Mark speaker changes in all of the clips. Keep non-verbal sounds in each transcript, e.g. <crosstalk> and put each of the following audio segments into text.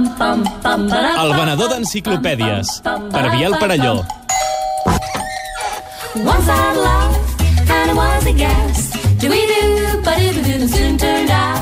Speaker 1: El venedor d'enciclopèdies, per Biel Parelló.
Speaker 2: Once I loved, and it was a guess. Do we do, but it didn't soon turned out.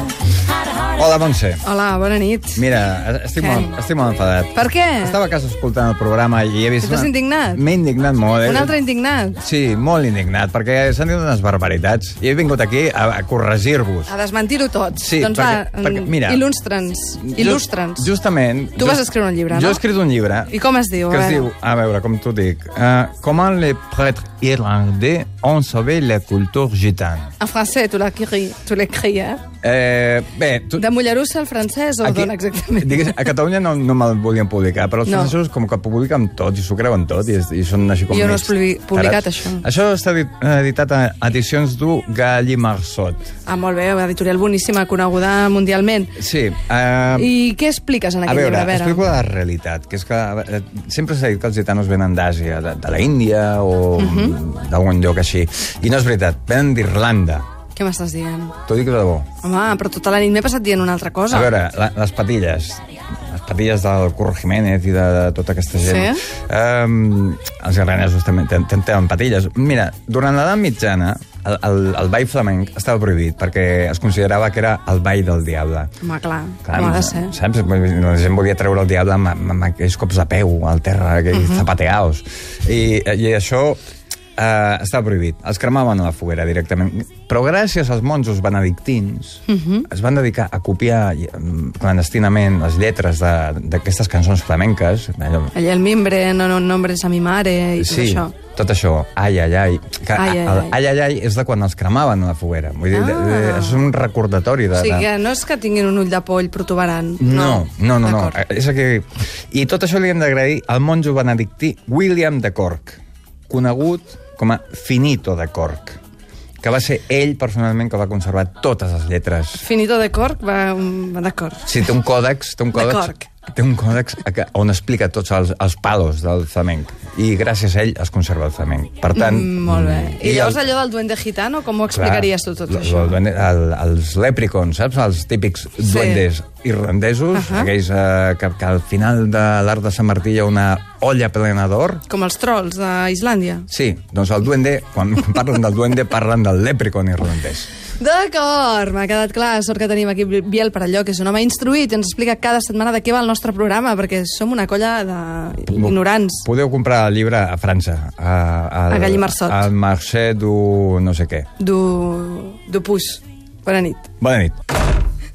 Speaker 2: Had a heart
Speaker 3: Hola, Montse.
Speaker 4: Hola, bona nit.
Speaker 3: Mira, estic,
Speaker 4: Què?
Speaker 3: molt, estic molt enfadat.
Speaker 4: Per què?
Speaker 3: Estava a casa escoltant el programa i he vist...
Speaker 4: Estàs
Speaker 3: una-
Speaker 4: indignat?
Speaker 3: M'he indignat molt. eh?
Speaker 4: Un altre indignat.
Speaker 3: Sí, molt indignat, perquè s'han dit unes barbaritats. I he vingut aquí a, a corregir-vos.
Speaker 4: A desmentir-ho tot.
Speaker 3: Sí,
Speaker 4: doncs
Speaker 3: perquè-
Speaker 4: va,
Speaker 3: perquè, mira-
Speaker 4: il·lustra'ns.
Speaker 3: Just-
Speaker 4: Il·lustra'ns.
Speaker 3: Justament...
Speaker 4: Tu vas escriure un llibre, no?
Speaker 3: Jo he escrit un llibre.
Speaker 4: I com es diu?
Speaker 3: Que
Speaker 4: A
Speaker 3: es
Speaker 4: veure.
Speaker 3: diu, a veure, com t'ho dic, uh, Comment les prêtres irlandais ont sauvé la culture gitane.
Speaker 4: En francès, tu l'écris, tu l'écris, eh?
Speaker 3: Eh, bé, tu,
Speaker 4: De Mollerussa al francès o Aquí... d'on exactament?
Speaker 3: Digues, a Catalunya no, no me'l volien publicar, però els
Speaker 4: No.
Speaker 3: francesos com que publiquen tot i s'ho creuen tot i, es- i són així com...
Speaker 4: Jo no
Speaker 3: mig
Speaker 4: has publi- publicat
Speaker 3: tarats.
Speaker 4: això.
Speaker 3: Això està edit- editat a edicions du Gallimarsot.
Speaker 4: Ah, molt bé, una editorial boníssima, coneguda mundialment.
Speaker 3: Sí. Uh,
Speaker 4: I què expliques en
Speaker 3: a
Speaker 4: aquest
Speaker 3: veure,
Speaker 4: llibre?
Speaker 3: explico la realitat, que és que eh, sempre s'ha dit que els gitanos venen d'Àsia, de, de la Índia o
Speaker 4: Mhm.
Speaker 3: d'algun lloc així. I no és veritat, venen d'Irlanda.
Speaker 4: Què m'estàs dient?
Speaker 3: T'ho dic de debò.
Speaker 4: Home, però tota la nit m'he passat dient una altra
Speaker 3: A
Speaker 4: cosa.
Speaker 3: veure, la, les patilles. Les patilles del Curro Jiménez i de, de tota aquesta gent.
Speaker 4: Sí?
Speaker 3: Um, els irlandesos també ten- ten- tenen patilles. Mira, durant l'edat mitjana, el, el, el ball flamenc estava prohibit perquè es considerava que era el ball del diable.
Speaker 4: Home, clar, com ha de ser.
Speaker 3: Saps? La gent volia treure el diable amb, amb, amb aquells cops de peu al terra, aquells
Speaker 4: Mhm.
Speaker 3: uh -huh. zapateaos. I, I això eh, estava prohibit. Els cremaven a la foguera directament. Però gràcies als monjos benedictins uh
Speaker 4: Mhm.
Speaker 3: -huh. es van dedicar a copiar mm, clandestinament les lletres de- d'aquestes cançons flamenques. Allò,
Speaker 4: Allà el mimbre, no, no nombres a mi mare, i
Speaker 3: Sí,
Speaker 4: tot això.
Speaker 3: tot això. Ai, ai, ai. Que,
Speaker 4: Ai, ai, ai.
Speaker 3: el ai, ai, ai, és de quan els cremaven a la foguera. Vull dir,
Speaker 4: Ah.
Speaker 3: ah. és un recordatori. De,
Speaker 4: O sigui
Speaker 3: de...
Speaker 4: que no és que tinguin un ull de poll protuberant.
Speaker 3: No, no, no. no.
Speaker 4: D'acord.
Speaker 3: És aquí. I tot això li hem d'agrair al monjo benedictí William de Cork, conegut com a Finito de Cork, que va ser ell personalment que va conservar totes les lletres.
Speaker 4: Finito de corc, va, va d'acord.
Speaker 3: Sí, té un còdex... Té un
Speaker 4: De
Speaker 3: còdex
Speaker 4: Cork.
Speaker 3: Té un còdex a que- on explica tots els, els palos del flamenc. I gràcies a ell es conserva el flamenc. Per tant...
Speaker 4: Mm, molt bé. I,
Speaker 3: el-
Speaker 4: llavors allò del duende gitano, com ho explicaries tu tot
Speaker 3: Clar,
Speaker 4: això?
Speaker 3: el- el- el- els lepricons, saps? Els típics duendes irlandesos,
Speaker 4: Ahà.
Speaker 3: aquells eh, que, que al final de l'art de Sant Martí hi ha una olla plena d'or.
Speaker 4: Com els trolls d'Islàndia.
Speaker 3: Sí, doncs el duende, quan <laughs> parlen del duende, parlen del lepricon irlandès.
Speaker 4: D'acord, m'ha quedat clar. Sort que tenim aquí Biel Parelló, que és un home instruït i ens explica cada setmana de què va el nostre programa, perquè som una colla d'ignorants.
Speaker 3: Podeu comprar el llibre a França. A, al-
Speaker 4: A Gallimarsot.
Speaker 3: Al marché du no sé què.
Speaker 4: Du... Du pus. Bona nit.
Speaker 3: Bona nit.